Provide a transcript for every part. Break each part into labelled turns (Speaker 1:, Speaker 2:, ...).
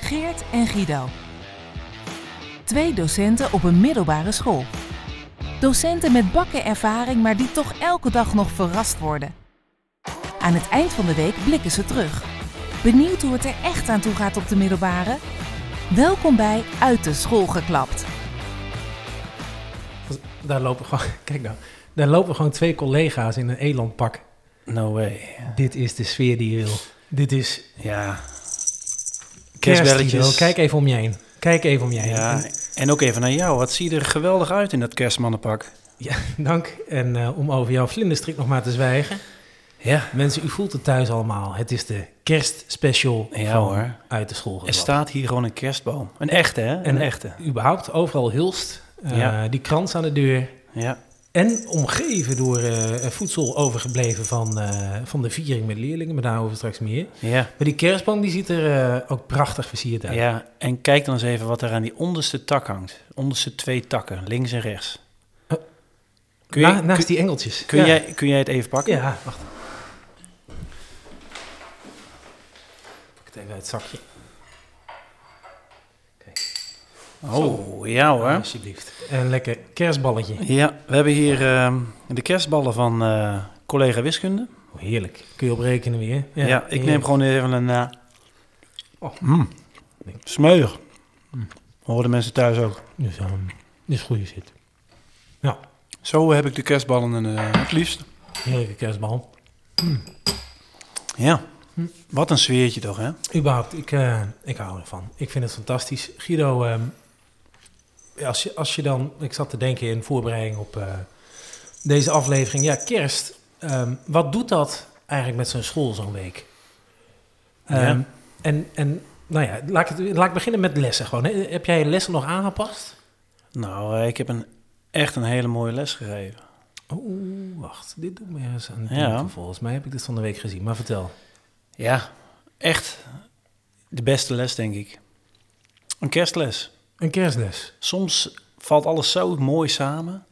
Speaker 1: Geert en Guido. Twee docenten op een middelbare school. Docenten met bakken ervaring, maar die toch elke dag nog verrast worden. Aan het eind van de week blikken ze terug. Benieuwd hoe het er echt aan toe gaat op de middelbare? Welkom bij Uit de School geklapt.
Speaker 2: Daar lopen gewoon, kijk nou, daar lopen gewoon twee collega's in een elandpak.
Speaker 3: No way.
Speaker 2: Dit is de sfeer die je wil. Dit is
Speaker 3: Ja.
Speaker 2: kerst die je wil.
Speaker 3: Kerstbelletjes.
Speaker 2: Kijk even om je heen. Kijk even om je heen.
Speaker 3: Ja,
Speaker 2: En-
Speaker 3: en ook even naar jou. Wat zie je er geweldig uit in dat kerstmannenpak.
Speaker 2: ja, dank. En eh, om over jouw vlinderstrik nog maar te zwijgen.
Speaker 3: Ja.
Speaker 2: Mensen, u voelt het thuis allemaal. Het is de kerstspecial
Speaker 3: Ja,
Speaker 2: van
Speaker 3: hoor.
Speaker 2: Uit de School.
Speaker 3: Er
Speaker 2: geklapt.
Speaker 3: staat hier gewoon een kerstboom. Een echte, hè? Een
Speaker 2: En-
Speaker 3: echte.
Speaker 2: Überhaupt overal hulst. eh,
Speaker 3: Ja.
Speaker 2: Die krans aan de deur.
Speaker 3: Ja.
Speaker 2: En omgeven door eh, voedsel overgebleven van, eh, van de viering met leerlingen, maar daarover straks meer.
Speaker 3: Ja.
Speaker 2: Maar die kerstboom die ziet er eh, ook prachtig versierd uit.
Speaker 3: Ja. En kijk dan eens even wat er aan die onderste tak hangt. Onderste twee takken, links en rechts.
Speaker 2: Eh,
Speaker 3: Kun, je,
Speaker 2: Na- naast
Speaker 3: kun,
Speaker 2: die engeltjes.
Speaker 3: kun
Speaker 2: Ja.
Speaker 3: jij, kun jij het even pakken?
Speaker 2: Ja, wacht. Pak het even uit het zakje.
Speaker 3: Oh, ja hoor.
Speaker 2: Alsjeblieft. Een lekker kerstballetje.
Speaker 3: Ja, we hebben hier ehm, de kerstballen van eh, collega wiskunde.
Speaker 2: Oh, heerlijk. Kun je op rekenen weer.
Speaker 3: Ja, ik neem gewoon even een... eh
Speaker 2: Oh.
Speaker 3: mm, Smeuig. Hmm. Horen mensen thuis ook.
Speaker 2: Dus, ehm, dit is goede zit. Nou, Ja,
Speaker 3: Zo heb ik de kerstballen eh, het liefst.
Speaker 2: heerlijke kerstbal.
Speaker 3: Ja, wat een sfeertje toch, hè?
Speaker 2: Überhaupt, ik, eh, ik hou ervan. Ik vind het fantastisch. Guido, ehm, ja, als, je, als je dan... Ik zat te denken in voorbereiding op eh, deze aflevering. Ja, kerst. ehm, wat doet dat eigenlijk met zo'n school zo'n week?
Speaker 3: Ja.
Speaker 2: Ehm, En, en nou ja, laat ik, het, laat ik beginnen met lessen gewoon. Hè. Heb jij je lessen nog aangepast?
Speaker 3: Nou, eh, ik heb een, echt een hele mooie les gegeven.
Speaker 2: Oeh, wacht. Dit doet me ergens aan
Speaker 3: Ja.
Speaker 2: denken. Volgens mij heb ik dit van de week gezien. Maar vertel.
Speaker 3: Ja, echt de beste les, denk ik. Een kerstles.
Speaker 2: Een kerstles.
Speaker 3: Soms valt alles zo mooi samen.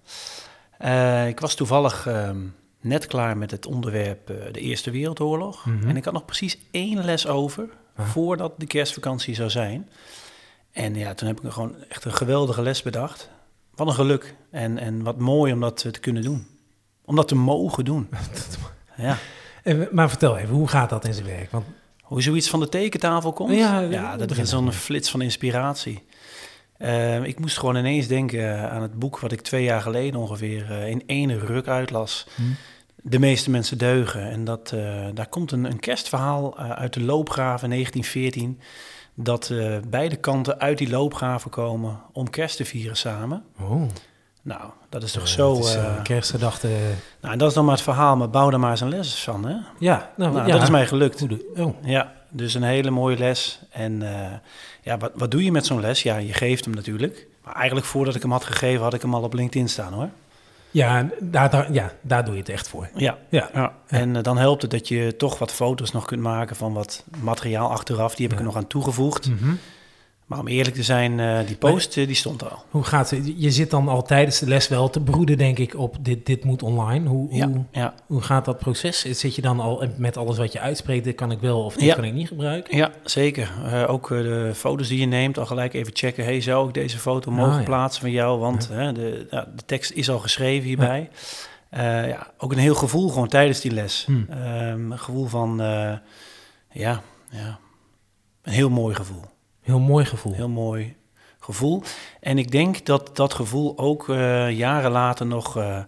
Speaker 3: Eh, ik was toevallig ehm, net klaar met het onderwerp eh, de Eerste Wereldoorlog.
Speaker 2: Mhm.
Speaker 3: En ik had nog precies één les over
Speaker 2: Ah.
Speaker 3: voordat de kerstvakantie zou zijn. En ja, toen heb ik gewoon echt een geweldige les bedacht. Wat een geluk. En, en wat mooi om dat eh, te kunnen doen. Om dat te mogen doen. ja.
Speaker 2: En, maar vertel even, hoe gaat dat in zijn werk? Want
Speaker 3: Hoe zoiets van de tekentafel komt?
Speaker 2: Ja, we
Speaker 3: dat
Speaker 2: beginnen
Speaker 3: is zo'n flits van inspiratie. Eh, ik moest gewoon ineens denken eh, aan het boek wat ik twee jaar geleden ongeveer eh, in één ruk uitlas.
Speaker 2: Hmm.
Speaker 3: De meeste mensen deugen. En dat, eh, daar komt een, een kerstverhaal eh, uit de loopgraven 1914. Dat eh, beide kanten uit die loopgraven komen om kerst te vieren samen.
Speaker 2: oh,
Speaker 3: Nou, dat is toch
Speaker 2: eh,
Speaker 3: zo...
Speaker 2: het is, eh,
Speaker 3: eh,
Speaker 2: kerstgedachte.
Speaker 3: nou, dat is dan maar het verhaal, maar bouw daar maar eens een les van, hè?
Speaker 2: ja, nou,
Speaker 3: Nou,
Speaker 2: ja.
Speaker 3: dat is mij gelukt.
Speaker 2: Hoe doe- oh,
Speaker 3: Ja, dus een hele mooie les. En eh, ja, wat, wat doe je met zo'n les? Ja, je geeft hem natuurlijk. Maar eigenlijk voordat ik hem had gegeven, had ik hem al op LinkedIn staan hoor.
Speaker 2: ja, daar, daar- ja, daar doe je het echt voor.
Speaker 3: Ja.
Speaker 2: Ja.
Speaker 3: ja. En eh, dan helpt het dat je toch wat foto's nog kunt maken van wat materiaal achteraf. Die heb ik
Speaker 2: Ja.
Speaker 3: er nog aan toegevoegd.
Speaker 2: Mhm.
Speaker 3: Maar om eerlijk te zijn, eh, die post eh, die stond al.
Speaker 2: Hoe gaat het? Je zit dan al tijdens de les wel te broeden, denk ik, op dit, dit moet online. Hoe,
Speaker 3: Ja,
Speaker 2: hoe,
Speaker 3: ja,
Speaker 2: hoe gaat dat proces? Zit je dan al met alles wat je uitspreekt, dit kan ik wel of dit
Speaker 3: Ja.
Speaker 2: kan ik niet gebruiken?
Speaker 3: ja zeker. Eh, ook eh, de foto's die je neemt, al gelijk even checken. Hey, zou ik deze foto mogen
Speaker 2: Ah, ja.
Speaker 3: plaatsen van jou? Want hè, de, ja, de tekst is al geschreven hierbij. Eh, ja, ook een heel gevoel gewoon tijdens die les.
Speaker 2: Hmm.
Speaker 3: Ehm, een gevoel van, eh, ja, ja, een heel mooi gevoel.
Speaker 2: Heel mooi gevoel.
Speaker 3: Heel mooi gevoel. En ik denk dat dat gevoel ook eh, jaren later nog eh,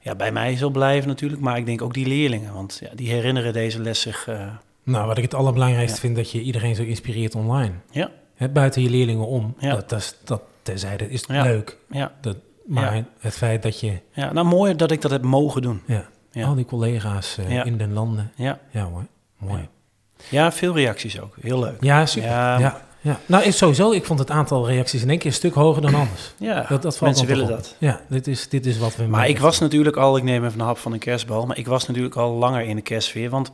Speaker 3: ja, bij mij zal blijven natuurlijk. Maar ik denk ook die leerlingen, want ja, die herinneren deze les zich. eh,
Speaker 2: Nou, wat ik het allerbelangrijkste
Speaker 3: Ja.
Speaker 2: vind, dat je iedereen zo inspireert online.
Speaker 3: Ja.
Speaker 2: Hè, buiten je leerlingen om.
Speaker 3: Ja.
Speaker 2: Dat, dat, is- dat terzijde is
Speaker 3: Ja.
Speaker 2: leuk.
Speaker 3: ja,
Speaker 2: Dat, maar het feit dat je
Speaker 3: ja, nou mooi dat ik dat heb mogen doen.
Speaker 2: ja,
Speaker 3: Ja.
Speaker 2: al die collega's eh,
Speaker 3: Ja.
Speaker 2: in den landen.
Speaker 3: Ja,
Speaker 2: Ja hoor, mooi.
Speaker 3: ja veel reacties ook. Heel leuk.
Speaker 2: Ja, super. Ja.
Speaker 3: Ja.
Speaker 2: Ja. Nou, is sowieso, ik vond het aantal reacties in één keer een stuk hoger dan anders.
Speaker 3: Ja,
Speaker 2: Dat, dat valt
Speaker 3: mensen
Speaker 2: dan
Speaker 3: willen
Speaker 2: toch op.
Speaker 3: dat.
Speaker 2: Ja, dit is, dit is wat we
Speaker 3: Maar
Speaker 2: maken.
Speaker 3: ik was natuurlijk al, ik neem even een hap van een kerstbal, maar ik was natuurlijk al langer in de kerstsfeer, want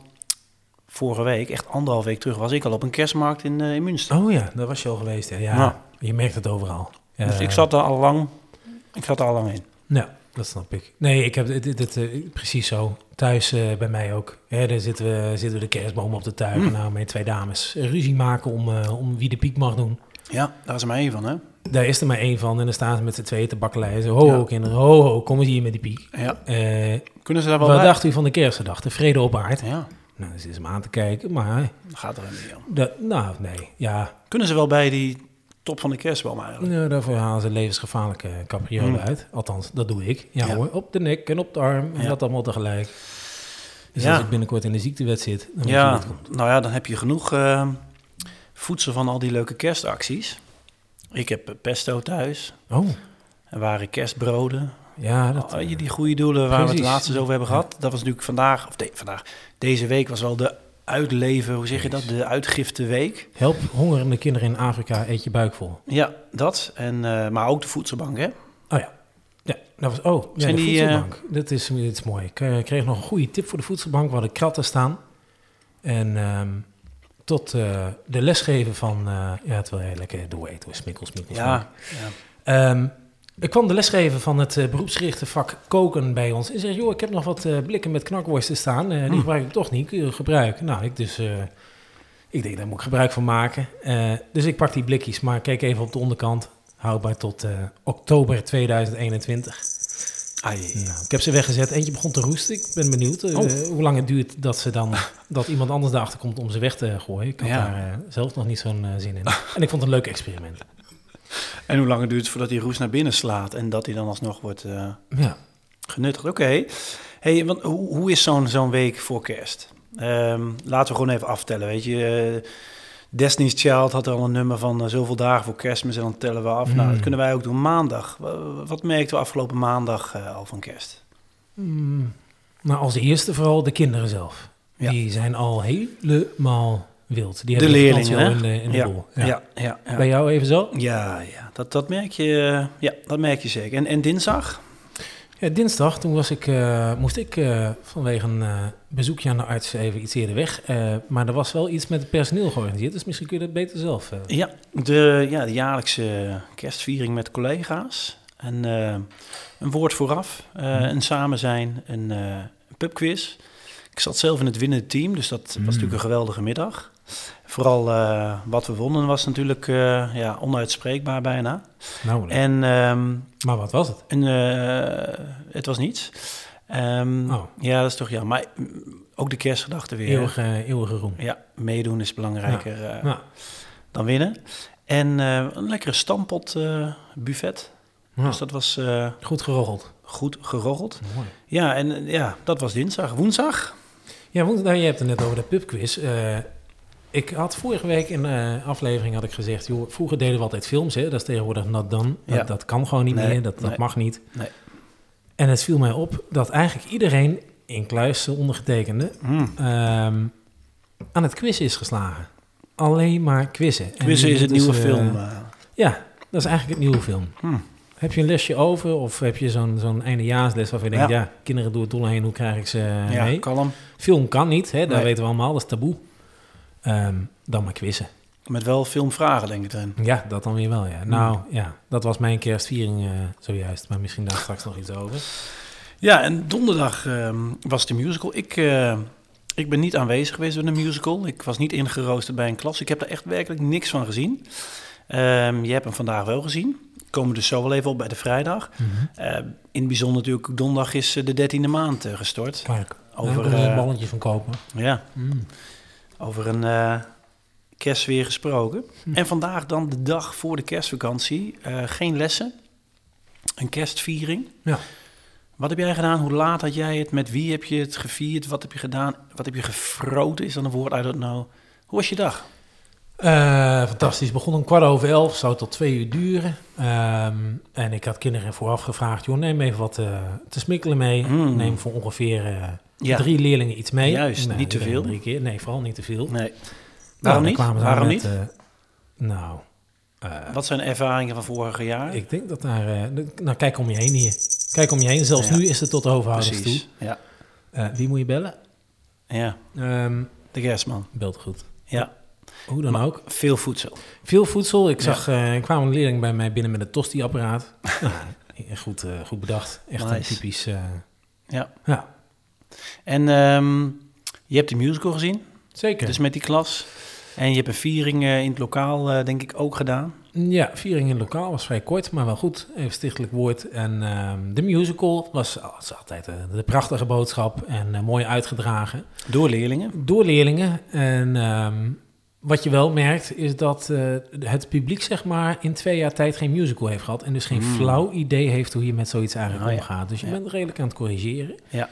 Speaker 3: vorige week, echt anderhalf week terug, was ik al op een kerstmarkt in, eh, in Münster.
Speaker 2: Oh ja, daar was je al geweest. hè. Ja,
Speaker 3: Ja.
Speaker 2: je merkt het overal.
Speaker 3: dus
Speaker 2: Eh,
Speaker 3: ik zat daar al lang, ik zat er al lang in.
Speaker 2: Nou, Dat snap ik. Nee, ik heb dit, dit, dit, eh, precies zo. Thuis eh, bij mij ook. Hè, daar zitten we, zitten we de kerstboom op te tuigen.
Speaker 3: Mm.
Speaker 2: Nou, mijn twee dames ruzie maken om, eh, om wie de piek mag doen.
Speaker 3: Ja, daar is er maar één van, hè?
Speaker 2: Daar is er maar één van. En dan staan ze met z'n tweeën te bakkeleien. Zo, ho, ho,
Speaker 3: Ja.
Speaker 2: kinderen. Ho, ho, kom eens hier met die piek.
Speaker 3: Ja.
Speaker 2: Eh,
Speaker 3: Kunnen ze daar wel
Speaker 2: wat
Speaker 3: bij?
Speaker 2: dacht u van de kerstgedachte? Vrede op aard.
Speaker 3: Ja,
Speaker 2: Nou, ze is hem aan te kijken. Maar,
Speaker 3: dat gaat er helemaal niet om.
Speaker 2: dat, nou, nee. Ja,
Speaker 3: Kunnen ze wel bij die top van de kerstboom eigenlijk?
Speaker 2: Nou, daarvoor halen ze levensgevaarlijke capriolen
Speaker 3: Hmm.
Speaker 2: uit. Althans, dat doe ik. Ja,
Speaker 3: Ja.
Speaker 2: hoor, op de nek en op de arm en
Speaker 3: Ja.
Speaker 2: dat allemaal tegelijk. Dus
Speaker 3: Ja.
Speaker 2: als ik binnenkort in de ziektewet zit, dan ja.
Speaker 3: Ja, nou ja, dan heb je genoeg eh, voedsel van al die leuke kerstacties. Ik heb eh, pesto thuis.
Speaker 2: Oh,
Speaker 3: Er waren kerstbroden.
Speaker 2: ja, dat...
Speaker 3: Al Oh, je die goede doelen waar we het
Speaker 2: precies.
Speaker 3: laatst eens over hebben gehad. Dat was natuurlijk vandaag, of de- vandaag, deze week was wel de uitleven, hoe zeg je dat? De uitgifteweek.
Speaker 2: Help hongerende kinderen in Afrika, eet je buik vol.
Speaker 3: Ja, dat. En, eh, maar ook de voedselbank, hè?
Speaker 2: Oh ja. Ja, dat was... Oh, ja,
Speaker 3: Zijn
Speaker 2: de
Speaker 3: die, eh,
Speaker 2: voedselbank. Dat, is, dat is mooi. Ik eh, kreeg nog een goede tip voor de voedselbank. We hadden kratten staan. En ehm, tot eh, de lesgeven van... eh, ja, het wil heel lekker dooreten hoor. Smikkel, smikkel, smikkel.
Speaker 3: Ja. ja.
Speaker 2: Ehm ik kwam de lesgever van het eh, beroepsgerichte vak koken bij ons. En zei, joh, ik heb nog wat eh, blikken met knakworsten staan. Eh, die
Speaker 3: Hm.
Speaker 2: gebruik ik toch niet. Kun je die gebruiken? Nou, ik dus... eh, ik denk, daar moet ik gebruik van maken. Eh, dus ik pak die blikjes, maar kijk even op de onderkant. Houdbaar tot eh, oktober 2021.
Speaker 3: Ai.
Speaker 2: Nou, ik heb ze weggezet. Eentje begon te roesten. Ik ben benieuwd eh,
Speaker 3: Oh.
Speaker 2: hoe lang het duurt dat, ze dan, dat iemand anders daarachter komt om ze weg te gooien. Ik had
Speaker 3: Ja.
Speaker 2: daar eh, zelf nog niet zo'n eh, zin in. En ik vond het een leuk experiment.
Speaker 3: En hoe lang het duurt voordat die roes naar binnen slaat en dat hij dan alsnog wordt eh,
Speaker 2: Ja.
Speaker 3: genuttigd? Oké. Hey, want hoe, hoe is zo'n zo'n week voor kerst? Ehm, laten we gewoon even aftellen, weet je. eh, Destiny's Child had al een nummer van eh, zoveel dagen voor kerstmis en dan tellen we af. Nou, dat
Speaker 2: Hmm.
Speaker 3: kunnen wij ook doen. Maandag. Wa- Wat merkten we afgelopen maandag eh, al van kerst?
Speaker 2: Mm, nou, als eerste vooral de kinderen zelf.
Speaker 3: Ja.
Speaker 2: Die zijn al helemaal wild. Die
Speaker 3: De
Speaker 2: hebben
Speaker 3: leerlingen,
Speaker 2: vakantie al
Speaker 3: hè?
Speaker 2: in de, in de boel. Ja.
Speaker 3: ja, ja. ja.
Speaker 2: Bij jou even zo?
Speaker 3: Ja, ja. Dat, dat merk je, eh, ja, dat merk je zeker. En, en dinsdag?
Speaker 2: Ja, dinsdag, toen was ik, eh, moest ik eh, vanwege een eh, bezoekje aan de arts even iets eerder weg. Eh, maar er was wel iets met het personeel georganiseerd, dus misschien kun je dat beter zelf. eh.
Speaker 3: Ja, de, ja, de jaarlijkse kerstviering met collega's. En, eh, een woord vooraf, eh, een samen zijn, een, eh, een pubquiz. Ik zat zelf in het winnende team, dus dat was
Speaker 2: Mm.
Speaker 3: natuurlijk een geweldige middag. Vooral eh, wat we wonnen was natuurlijk eh, ja, onuitspreekbaar bijna.
Speaker 2: nou, leuk.
Speaker 3: En ehm,
Speaker 2: maar wat was het?
Speaker 3: En, eh, het was niets. Ehm,
Speaker 2: Oh.
Speaker 3: Ja, dat is toch ja. Maar mm, ook de kerstgedachte weer.
Speaker 2: Eeuwige, eeuwige roem.
Speaker 3: Ja, meedoen is belangrijker eh,
Speaker 2: Nou,
Speaker 3: dan winnen. En eh, een lekkere stampot eh, buffet.
Speaker 2: nou,
Speaker 3: Dus dat was eh,
Speaker 2: goed geroggeld.
Speaker 3: goed geroggeld.
Speaker 2: Mooi.
Speaker 3: Ja, en eh, ja, dat was dinsdag. Woensdag?
Speaker 2: Ja, want nou, je hebt het net over de pubquiz. Eh, ik had vorige week in een eh, aflevering had ik gezegd... Joh, vroeger deden we altijd films, hè? dat is tegenwoordig nat dan. Dat,
Speaker 3: Ja.
Speaker 2: dat kan gewoon niet
Speaker 3: Nee,
Speaker 2: meer, dat, dat
Speaker 3: nee.
Speaker 2: mag niet.
Speaker 3: Nee.
Speaker 2: En het viel mij op dat eigenlijk iedereen, incluis de ondergetekende...
Speaker 3: Mm.
Speaker 2: ehm, aan het quiz is geslagen. Alleen maar quizzen. En
Speaker 3: Quizzen
Speaker 2: die
Speaker 3: is het
Speaker 2: moeten
Speaker 3: nieuwe
Speaker 2: ze-
Speaker 3: film. eh.
Speaker 2: Ja, dat is eigenlijk het nieuwe film.
Speaker 3: Hmm.
Speaker 2: Heb je een lesje over of heb je zo'n zo'n eindejaarsles waarvan je denkt...
Speaker 3: Ja.
Speaker 2: Ja. kinderen door het dolle heen, hoe krijg ik ze
Speaker 3: ja,
Speaker 2: mee?
Speaker 3: kalm.
Speaker 2: Film kan niet, hè? daar
Speaker 3: Nee.
Speaker 2: weten we allemaal, dat is taboe. Ehm, dan maar quizzen.
Speaker 3: Met wel filmvragen, denk ik erin.
Speaker 2: Ja, dat dan weer wel, ja. Nou,
Speaker 3: Hmm.
Speaker 2: ja, dat was mijn kerstviering eh, zojuist. Maar misschien daar straks nog iets over.
Speaker 3: Ja, en donderdag ehm, was de musical. Ik, eh, ik ben niet aanwezig geweest bij de musical. Ik was niet ingeroosterd bij een klas. Ik heb daar echt werkelijk niks van gezien. Ehm, je hebt hem vandaag wel gezien. Komen we dus zo wel even op bij de vrijdag. Eh, in het bijzonder natuurlijk, donderdag is eh, de dertiende maand eh, gestort.
Speaker 2: Kijk,
Speaker 3: Over,
Speaker 2: over Hmm. een
Speaker 3: eh,
Speaker 2: balletje van kopen.
Speaker 3: Ja, over een eh kerstweer gesproken.
Speaker 2: Hm.
Speaker 3: En vandaag dan de dag voor de kerstvakantie. Eh, geen lessen. Een kerstviering.
Speaker 2: Ja.
Speaker 3: Wat heb jij gedaan? Hoe laat had jij het? Met wie heb je het gevierd? Wat heb je gedaan? Wat heb je gefroten? Is dat een woord? I don't know. Hoe was je dag?
Speaker 2: Eh, fantastisch. Begon om kwart over elf, zou tot twee uur duren. Ehm, en ik had kinderen vooraf gevraagd: joh, neem even wat eh, te smikkelen mee.
Speaker 3: Mm.
Speaker 2: Neem voor ongeveer eh,
Speaker 3: Ja.
Speaker 2: drie leerlingen iets mee.
Speaker 3: Juist, niet te
Speaker 2: iedereen
Speaker 3: veel.
Speaker 2: Drie keer. Nee, vooral niet te veel.
Speaker 3: Nee.
Speaker 2: Nou,
Speaker 3: Waarom
Speaker 2: dan kwamen
Speaker 3: niet?
Speaker 2: ze aan
Speaker 3: Waarom
Speaker 2: met, eh,
Speaker 3: niet?
Speaker 2: nou, eh,
Speaker 3: Wat zijn de ervaringen van vorige jaar?
Speaker 2: ik denk dat daar... eh, nou, kijk om je heen hier. Kijk om je heen. Zelfs
Speaker 3: Ja.
Speaker 2: nu is het tot de overhouders toe.
Speaker 3: Precies. Ja.
Speaker 2: Eh, wie moet je bellen?
Speaker 3: ja,
Speaker 2: Ehm
Speaker 3: de kerstman.
Speaker 2: belt goed.
Speaker 3: Ja,
Speaker 2: Hoe dan ook.
Speaker 3: veel voedsel.
Speaker 2: Veel voedsel. Ik
Speaker 3: Ja.
Speaker 2: zag, eh, er kwam een leerling bij mij binnen met een tosti-apparaat. Nou, goed, eh, goed bedacht. Echt een
Speaker 3: Nice.
Speaker 2: typisch... eh,
Speaker 3: Ja.
Speaker 2: ja,
Speaker 3: En ehm, je hebt de musical gezien,
Speaker 2: zeker.
Speaker 3: dus met die klas. En je hebt een viering eh, in het lokaal, eh, denk ik, ook gedaan.
Speaker 2: Ja, viering in het lokaal was vrij kort, maar wel goed. Even stichtelijk woord. En ehm, de musical was, al- was altijd eh, de prachtige boodschap en eh, mooi uitgedragen
Speaker 3: Door leerlingen.
Speaker 2: door leerlingen. En ehm, wat je wel merkt is dat eh, het publiek zeg maar in twee jaar tijd geen musical heeft gehad. En dus geen
Speaker 3: Hmm.
Speaker 2: flauw idee heeft hoe je met zoiets eigenlijk
Speaker 3: Ah, ja.
Speaker 2: omgaat. Dus je
Speaker 3: Ja.
Speaker 2: bent redelijk aan het corrigeren.
Speaker 3: Ja.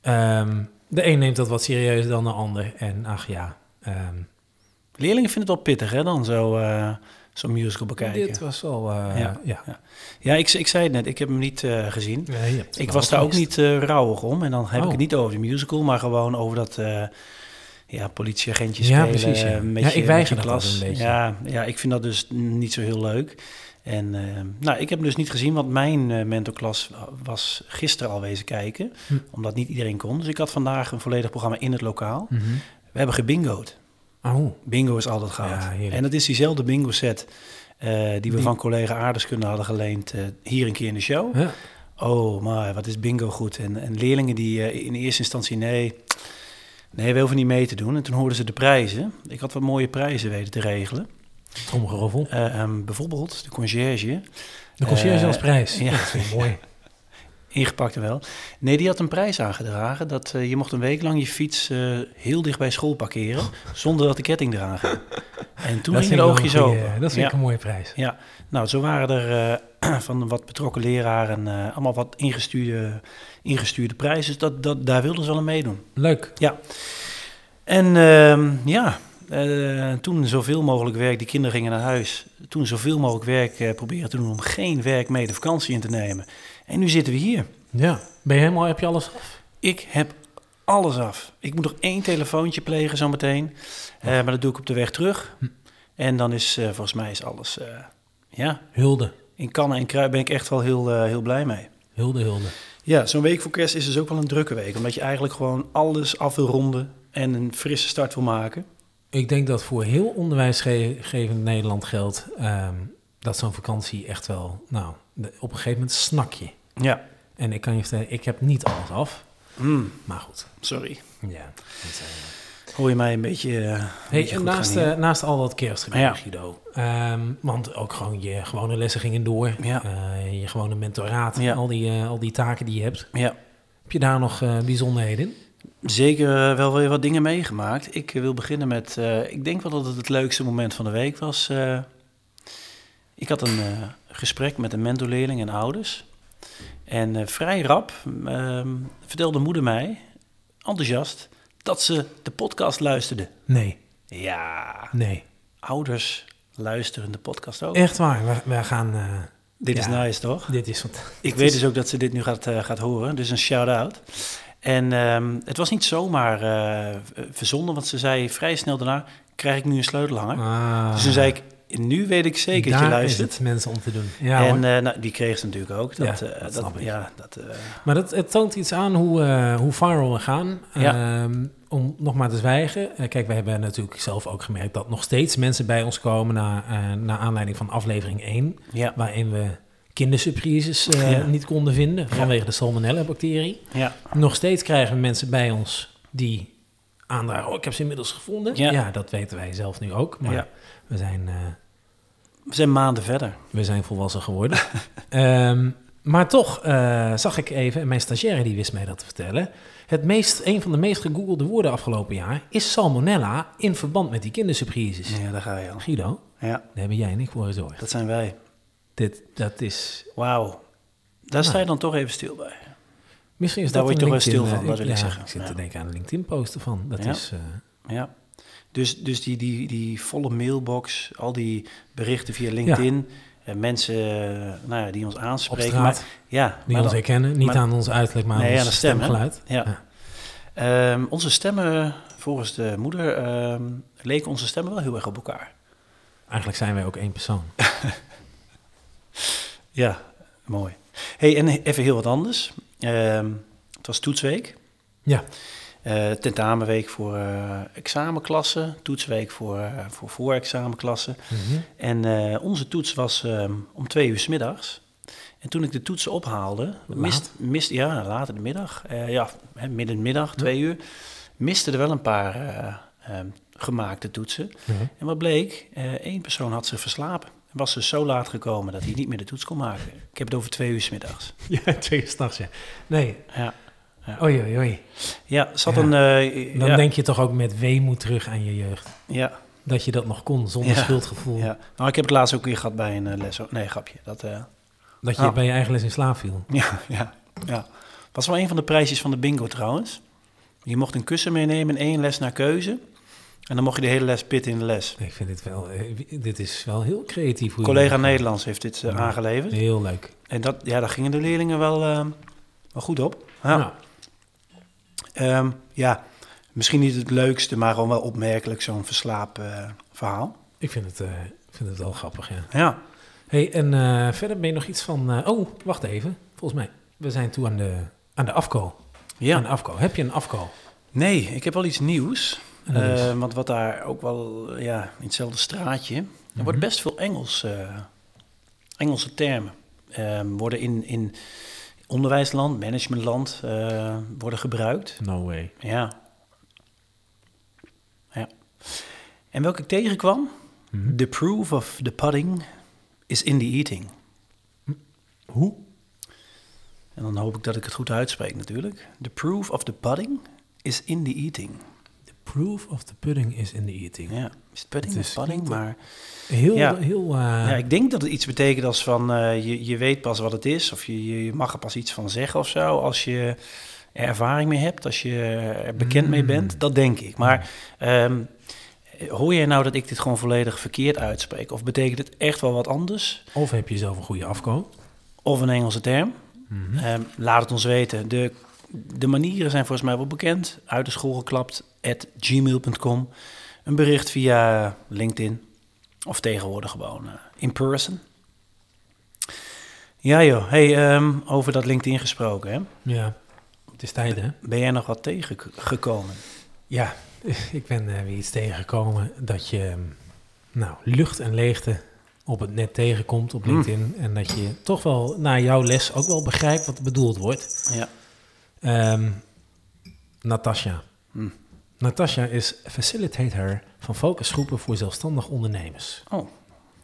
Speaker 2: Ehm, de een neemt dat wat serieuzer dan de ander. En ach ja, ehm,
Speaker 3: Leerlingen vinden het wel pittig, hè, dan zo, eh, zo'n musical bekijken.
Speaker 2: dit was wel... eh,
Speaker 3: Ja.
Speaker 2: ja.
Speaker 3: Ja, ik, ik zei het net, ik heb hem niet eh, gezien.
Speaker 2: Nee, je hebt
Speaker 3: Ik
Speaker 2: wel
Speaker 3: was daar ook
Speaker 2: gemist.
Speaker 3: niet eh rauwig om. En dan heb ik
Speaker 2: Oh.
Speaker 3: het niet over de musical, maar gewoon over dat eh ja, politieagentje
Speaker 2: Ja,
Speaker 3: spelen.
Speaker 2: precies, ja.
Speaker 3: eh, Met
Speaker 2: Ja,
Speaker 3: je,
Speaker 2: ik
Speaker 3: met
Speaker 2: weiger
Speaker 3: je
Speaker 2: dat
Speaker 3: klas.
Speaker 2: altijd een beetje.
Speaker 3: Ja, ja, ik vind dat dus niet zo heel leuk. En eh, nou, ik heb hem dus niet gezien, want mijn eh, mentorklas was gisteren alweer kijken.
Speaker 2: Hm.
Speaker 3: Omdat niet iedereen kon. Dus ik had vandaag een volledig programma in het lokaal.
Speaker 2: Mhm.
Speaker 3: We hebben gebingo'd.
Speaker 2: Oh,
Speaker 3: Bingo is altijd goud.
Speaker 2: Ja, heerlijk.
Speaker 3: en dat is diezelfde bingo set eh, die we
Speaker 2: Die-
Speaker 3: van collega Aardeskunde hadden geleend eh, hier een keer in de show.
Speaker 2: ja.
Speaker 3: Oh, maar wat is bingo goed. En, en leerlingen die eh, in eerste instantie, nee, nee, we hoeven niet mee te doen. En toen hoorden ze de prijzen. Ik had wat mooie prijzen weten te regelen.
Speaker 2: tromgeroffel.
Speaker 3: Eh, ehm, bijvoorbeeld de conciërge,
Speaker 2: De conciërge
Speaker 3: Eh,
Speaker 2: als prijs.
Speaker 3: ja.
Speaker 2: Ja, dat is wel mooi.
Speaker 3: ingepakt en wel. Nee, die had een prijs aangedragen dat eh, je mocht een week lang je fiets eh, heel dicht bij school parkeren, zonder dat de ketting eraan ging. En toen
Speaker 2: dat
Speaker 3: ging
Speaker 2: vind
Speaker 3: de
Speaker 2: ik wel
Speaker 3: oogjes
Speaker 2: een goeie,
Speaker 3: open.
Speaker 2: eh, Dat vind
Speaker 3: Ja.
Speaker 2: ik een mooie prijs.
Speaker 3: Ja, nou, zo waren er eh, van wat betrokken leraren eh, allemaal wat ingestuurde, ingestuurde prijzen. Dus dat, dat, daar wilden ze wel aan meedoen.
Speaker 2: Leuk.
Speaker 3: En ehm, ja, eh, toen zoveel mogelijk werk, die kinderen gingen naar huis. Toen zoveel mogelijk werk eh, proberen te doen om geen werk mee de vakantie in te nemen. En nu zitten we hier.
Speaker 2: Ja. Ben je helemaal, heb je alles af?
Speaker 3: Ik heb alles af. Ik moet nog één telefoontje plegen zometeen. Eh, maar dat doe ik op de weg terug. En dan is eh, volgens mij is alles, eh, ja,
Speaker 2: Hulde.
Speaker 3: in kannen en kruid ben ik echt wel heel, eh, heel blij mee.
Speaker 2: Hulde, hulde.
Speaker 3: Ja, zo'n week voor kerst is dus ook wel een drukke week. Omdat je eigenlijk gewoon alles af wil ronden en een frisse start wil maken.
Speaker 2: Ik denk dat voor heel onderwijsgevend Nederland geldt ehm, dat zo'n vakantie echt wel, nou, de- op een gegeven moment snak je.
Speaker 3: Ja.
Speaker 2: En ik kan je vertellen, ik heb niet alles af,
Speaker 3: Mm,
Speaker 2: maar goed.
Speaker 3: sorry.
Speaker 2: Ja. dat zijn we.
Speaker 3: Hoor je mij een beetje. eh, een
Speaker 2: Hey,
Speaker 3: beetje
Speaker 2: en
Speaker 3: goed
Speaker 2: naast,
Speaker 3: gaan hier?
Speaker 2: eh, naast al dat kerstgebied,
Speaker 3: Ja.
Speaker 2: Guido. Ehm, want ook gewoon je gewone lessen gingen door.
Speaker 3: Ja.
Speaker 2: Eh, je gewone mentoraat.
Speaker 3: Ja.
Speaker 2: Al, die, eh, al die taken die je hebt.
Speaker 3: ja,
Speaker 2: Heb je daar nog eh, bijzonderheden in?
Speaker 3: zeker eh, wel weer wat dingen meegemaakt. Ik eh, wil beginnen met. eh, ik denk wel dat het het leukste moment van de week was. eh, ik had een eh, gesprek met een mentorleerling en ouders. En eh, vrij rap ehm, vertelde moeder mij, enthousiast, dat ze de podcast luisterde.
Speaker 2: Nee,
Speaker 3: Ja,
Speaker 2: nee.
Speaker 3: ouders luisteren de podcast ook.
Speaker 2: Echt waar. We, we gaan... eh,
Speaker 3: Dit is
Speaker 2: Ja.
Speaker 3: nice, toch?
Speaker 2: dit is wat...
Speaker 3: Ik weet dus ook dat ze dit nu gaat, eh, gaat horen, dus een shout-out. En ehm, het was niet zomaar eh, verzonnen, want ze zei vrij snel daarna... krijg ik nu een sleutelhanger?
Speaker 2: Ah,
Speaker 3: Dus toen zei ik, nu weet ik zeker dat je
Speaker 2: daar
Speaker 3: luistert.
Speaker 2: is het mensen om te doen. Ja,
Speaker 3: en
Speaker 2: hoor.
Speaker 3: eh, nou, die kreeg ze natuurlijk ook. Dat,
Speaker 2: Ja,
Speaker 3: eh,
Speaker 2: dat snap ik.
Speaker 3: Ja, dat, eh,
Speaker 2: Maar dat, het toont iets aan hoe, eh, hoe viral we gaan.
Speaker 3: Ja.
Speaker 2: Ehm, om nog maar te zwijgen. Eh, kijk, wij hebben natuurlijk zelf ook gemerkt... dat nog steeds mensen bij ons komen... na, eh naar aanleiding van aflevering 1.
Speaker 3: ja,
Speaker 2: waarin we kindersurprises eh,
Speaker 3: Ja.
Speaker 2: niet konden vinden vanwege de salmonella-bacterie.
Speaker 3: ja,
Speaker 2: Nog steeds krijgen we mensen bij ons die aandragen, oh, ik heb ze inmiddels gevonden.
Speaker 3: Ja.
Speaker 2: Ja, dat weten wij zelf nu ook, maar
Speaker 3: Ja.
Speaker 2: we, zijn, eh,
Speaker 3: we zijn maanden verder.
Speaker 2: we zijn volwassen geworden. Ehm, maar toch eh, zag ik even, en mijn stagiaire die wist mij dat te vertellen, het meest, een van de meest gegoogelde woorden afgelopen jaar is salmonella in verband met die kindersurprises.
Speaker 3: Ja, daar ga je al.
Speaker 2: Guido,
Speaker 3: Ja,
Speaker 2: daar hebben jij en ik voor gezorgd.
Speaker 3: dat zijn wij.
Speaker 2: Dit, dat is
Speaker 3: Wauw. Daar
Speaker 2: Ah.
Speaker 3: sta je dan toch even stil bij.
Speaker 2: Misschien is
Speaker 3: Daar
Speaker 2: dat
Speaker 3: word je
Speaker 2: een
Speaker 3: toch wel
Speaker 2: LinkedIn,
Speaker 3: stil van,
Speaker 2: eh,
Speaker 3: dat wil ik zeggen.
Speaker 2: Ik zit
Speaker 3: Ja.
Speaker 2: te denken aan de LinkedIn-posten van. Dat
Speaker 3: Ja.
Speaker 2: is... eh,
Speaker 3: Ja. Dus, dus die, die, die volle mailbox, al die berichten via LinkedIn, eh, mensen eh, nou ja, die ons
Speaker 2: op
Speaker 3: aanspreken.
Speaker 2: straat,
Speaker 3: maar- ja,
Speaker 2: die
Speaker 3: maar
Speaker 2: ons
Speaker 3: dan-
Speaker 2: herkennen. Niet
Speaker 3: maar-
Speaker 2: aan ons uiterlijk, maar aan
Speaker 3: Nee,
Speaker 2: ons
Speaker 3: aan de stem, hè?
Speaker 2: stemgeluid.
Speaker 3: ja. Ehm, onze stemmen, volgens de moeder, ehm, leken onze stemmen wel heel erg op elkaar.
Speaker 2: Eigenlijk zijn wij ook één persoon.
Speaker 3: Ja, mooi. Hey, en even heel wat anders. Ehm, het was toetsweek,
Speaker 2: Ja,
Speaker 3: eh, tentamenweek voor eh, examenklassen, toetsweek voor, eh, voor voorexamenklassen.
Speaker 2: Mhm.
Speaker 3: En eh, onze toets was ehm, om twee uur 's middags. En toen ik de toetsen ophaalde,
Speaker 2: Laat.
Speaker 3: mist, mist, ja, later de middag, eh, ja, hè, midden in de middag, twee uur, misten er wel een paar eh, eh, gemaakte toetsen.
Speaker 2: Ja.
Speaker 3: En wat bleek, Eh één persoon had zich verslapen. En was dus zo laat gekomen dat hij niet meer de toets kon maken. Ik heb het over twee uur 's middags.
Speaker 2: Ja, twee uur s'nachts, ja. Nee,
Speaker 3: Ja,
Speaker 2: oei, oei, oei.
Speaker 3: ja zat
Speaker 2: Ja.
Speaker 3: een... eh,
Speaker 2: Dan
Speaker 3: ja,
Speaker 2: denk je toch ook met weemoed terug aan je jeugd.
Speaker 3: ja,
Speaker 2: Dat je dat nog kon, zonder
Speaker 3: Ja.
Speaker 2: schuldgevoel.
Speaker 3: ja. Nou, ik heb het laatst ook weer gehad bij een eh, les. Nee, grapje. Dat, eh,
Speaker 2: Dat je
Speaker 3: Ah.
Speaker 2: bij je eigen les in slaap viel.
Speaker 3: Ja, ja, ja. Was wel een van de prijsjes van de bingo trouwens. Je mocht een kussen meenemen en één les naar keuze. En dan mocht je de hele les pitten in de les.
Speaker 2: Ik vind dit wel, eh, wie- dit is wel heel creatief. hoe je
Speaker 3: collega
Speaker 2: dit-
Speaker 3: Nederlands heeft dit eh,
Speaker 2: Ja.
Speaker 3: aangeleverd.
Speaker 2: Heel leuk.
Speaker 3: En dat, ja, daar gingen de leerlingen wel, eh, wel goed op. Ja.
Speaker 2: Nou,
Speaker 3: Ehm, ja, misschien niet het leukste, maar gewoon wel opmerkelijk zo'n verslaap eh, verhaal.
Speaker 2: ik vind het, eh, ik vind het wel grappig, ja.
Speaker 3: Ja,
Speaker 2: hey, en eh, verder ben je nog iets van... eh, oh, wacht even. Volgens mij, we zijn toe aan de, aan de afko. Aan de
Speaker 3: ja.
Speaker 2: afko. Heb je een afko?
Speaker 3: Nee, ik heb wel iets nieuws.
Speaker 2: En dat is-
Speaker 3: Eh, want wat daar ook wel, ja, in hetzelfde straatje,
Speaker 2: Mhm.
Speaker 3: er wordt best veel Engels, eh, Engelse termen ehm, worden in, in onderwijsland, managementland eh, worden gebruikt.
Speaker 2: No way.
Speaker 3: Ja. ja. En welke ik tegenkwam?
Speaker 2: Mhm.
Speaker 3: The proof of the pudding is in the eating.
Speaker 2: Hoe?
Speaker 3: En dan hoop ik dat ik het goed uitspreek natuurlijk. The proof of the pudding is in the eating.
Speaker 2: The proof of the pudding is in the eating.
Speaker 3: Ja, is het pudding
Speaker 2: Het
Speaker 3: of
Speaker 2: is- eh,
Speaker 3: pudding, maar...
Speaker 2: Heel,
Speaker 3: Ja.
Speaker 2: heel... eh,
Speaker 3: Ja, ik denk dat het iets betekent als van eh, je, je weet pas wat het is, of je, je- je mag er pas iets van zeggen of zo, als je er ervaring mee hebt, als je er bekend mee bent. Dat denk ik. Maar ehm, hoor jij nou dat ik dit gewoon volledig verkeerd uitspreek? Of betekent het echt wel wat anders?
Speaker 2: Of heb je zelf een goede afko?
Speaker 3: Of een Engelse term? Ehm, laat het ons weten. De, de manieren zijn volgens mij wel bekend. Uit de school geklapt, at gmail.com. Een bericht via LinkedIn. Of tegenwoordig gewoon eh, in person. Ja joh, hey, ehm, over dat LinkedIn gesproken. Hè?
Speaker 2: Ja. Het is tijd, hè?
Speaker 3: Ben jij nog wat tegengekomen?
Speaker 2: Ja, ik ben eh, weer iets tegengekomen dat je ehm, nou, lucht en leegte op het net tegenkomt op LinkedIn. En dat je toch wel na jouw les ook wel begrijpt wat bedoeld wordt.
Speaker 3: Ja.
Speaker 2: Ehm Natasja.
Speaker 3: Hm.
Speaker 2: Natasja is facilitator van focusgroepen voor zelfstandig ondernemers.
Speaker 3: Oh,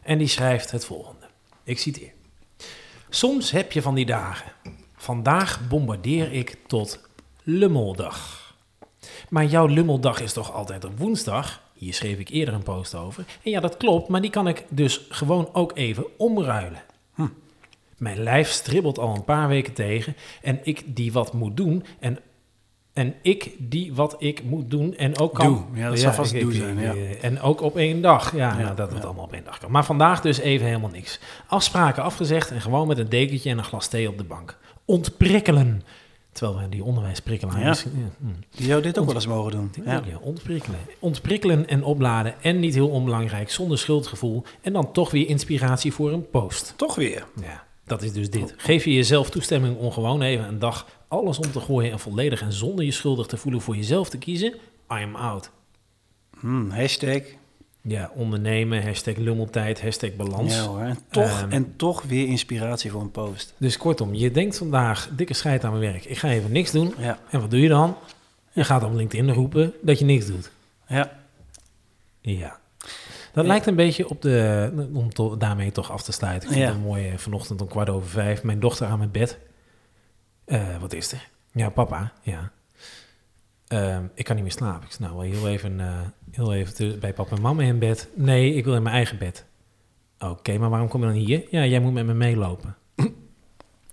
Speaker 2: En die schrijft het volgende. Ik citeer. Soms heb je van die dagen. Vandaag bombardeer ik tot lummeldag. Maar jouw lummeldag is toch altijd op woensdag? Hier schreef ik eerder een post over. En ja, dat klopt, maar die kan ik dus gewoon ook even omruilen. Hm. Mijn lijf stribbelt al een paar weken tegen en ik die wat moet doen en, en ik die wat ik moet doen en ook kan... Oh
Speaker 3: Doe. Ja, dat zou vast doe zijn, ja.
Speaker 2: eh, En ook op één dag, ja,
Speaker 3: Ja,
Speaker 2: nou, dat het
Speaker 3: ja.
Speaker 2: allemaal op één dag kan. Maar vandaag dus even helemaal niks. Afspraken afgezegd en gewoon met een dekentje en een glas thee op de bank. Ontprikkelen. Terwijl we die onderwijsprikkelaar
Speaker 3: Ja.
Speaker 2: misschien- ja, hm.
Speaker 3: die zou dit ook wel eens mogen doen.
Speaker 2: Ik denk
Speaker 3: Ja.
Speaker 2: dat, ja, ontprikkelen. Ontprikkelen en opladen. En niet heel onbelangrijk, zonder schuldgevoel. En dan toch weer inspiratie voor een post.
Speaker 3: Toch weer.
Speaker 2: Ja, dat is dus
Speaker 3: Oh.
Speaker 2: dit. Geef je jezelf toestemming om gewoon even een dag alles om te gooien en volledig en zonder je schuldig te voelen voor jezelf te kiezen. I'm out.
Speaker 3: Hm, hashtag.
Speaker 2: Ja, ondernemen, hashtag lummeltijd, hashtag balans.
Speaker 3: Ja hoor. En toch,
Speaker 2: Ehm.
Speaker 3: en toch weer inspiratie voor een post.
Speaker 2: Dus kortom, je denkt vandaag, dikke scheid aan mijn werk, ik ga even niks doen.
Speaker 3: Ja,
Speaker 2: En wat doe je dan? Je gaat op LinkedIn roepen dat je niks doet.
Speaker 3: ja.
Speaker 2: Ja. Dat
Speaker 3: Ja.
Speaker 2: lijkt een beetje op de, om to- daarmee toch af te sluiten. Ik vond
Speaker 3: Ja.
Speaker 2: het mooi eh, vanochtend om kwart over vijf. Mijn dochter aan mijn bed. Eh, wat is er? Ja, papa. Ja. Ehm, ik kan niet meer slapen. Ik zei, nou, wel heel even, eh, heel even te- bij papa en mama in bed. Nee, ik wil in mijn eigen bed. Oké, maar waarom kom je dan hier? Ja, jij moet met me meelopen.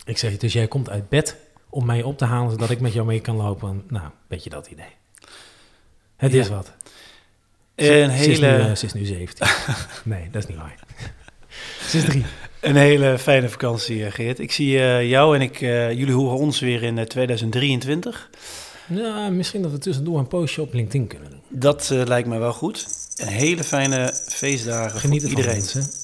Speaker 2: ik zeg, dus jij komt uit bed om mij op te halen, zodat ik met jou mee kan lopen. Nou, weet je dat idee. Het
Speaker 3: Ja.
Speaker 2: is wat.
Speaker 3: Een
Speaker 2: Ze is nu,
Speaker 3: hele...
Speaker 2: eh, Ze is nu, 17. nee, dat is niet waar. Ze is drie.
Speaker 3: Een hele fijne vakantie, eh, Geert. Ik zie eh, jou en ik, eh, jullie horen ons weer in eh, 2023.
Speaker 2: Nou, misschien dat we tussendoor een postje op LinkedIn kunnen doen.
Speaker 3: Dat eh, lijkt me wel goed. Een hele fijne feestdagen
Speaker 2: Geniet
Speaker 3: voor
Speaker 2: ervan,
Speaker 3: iedereen.
Speaker 2: mensen.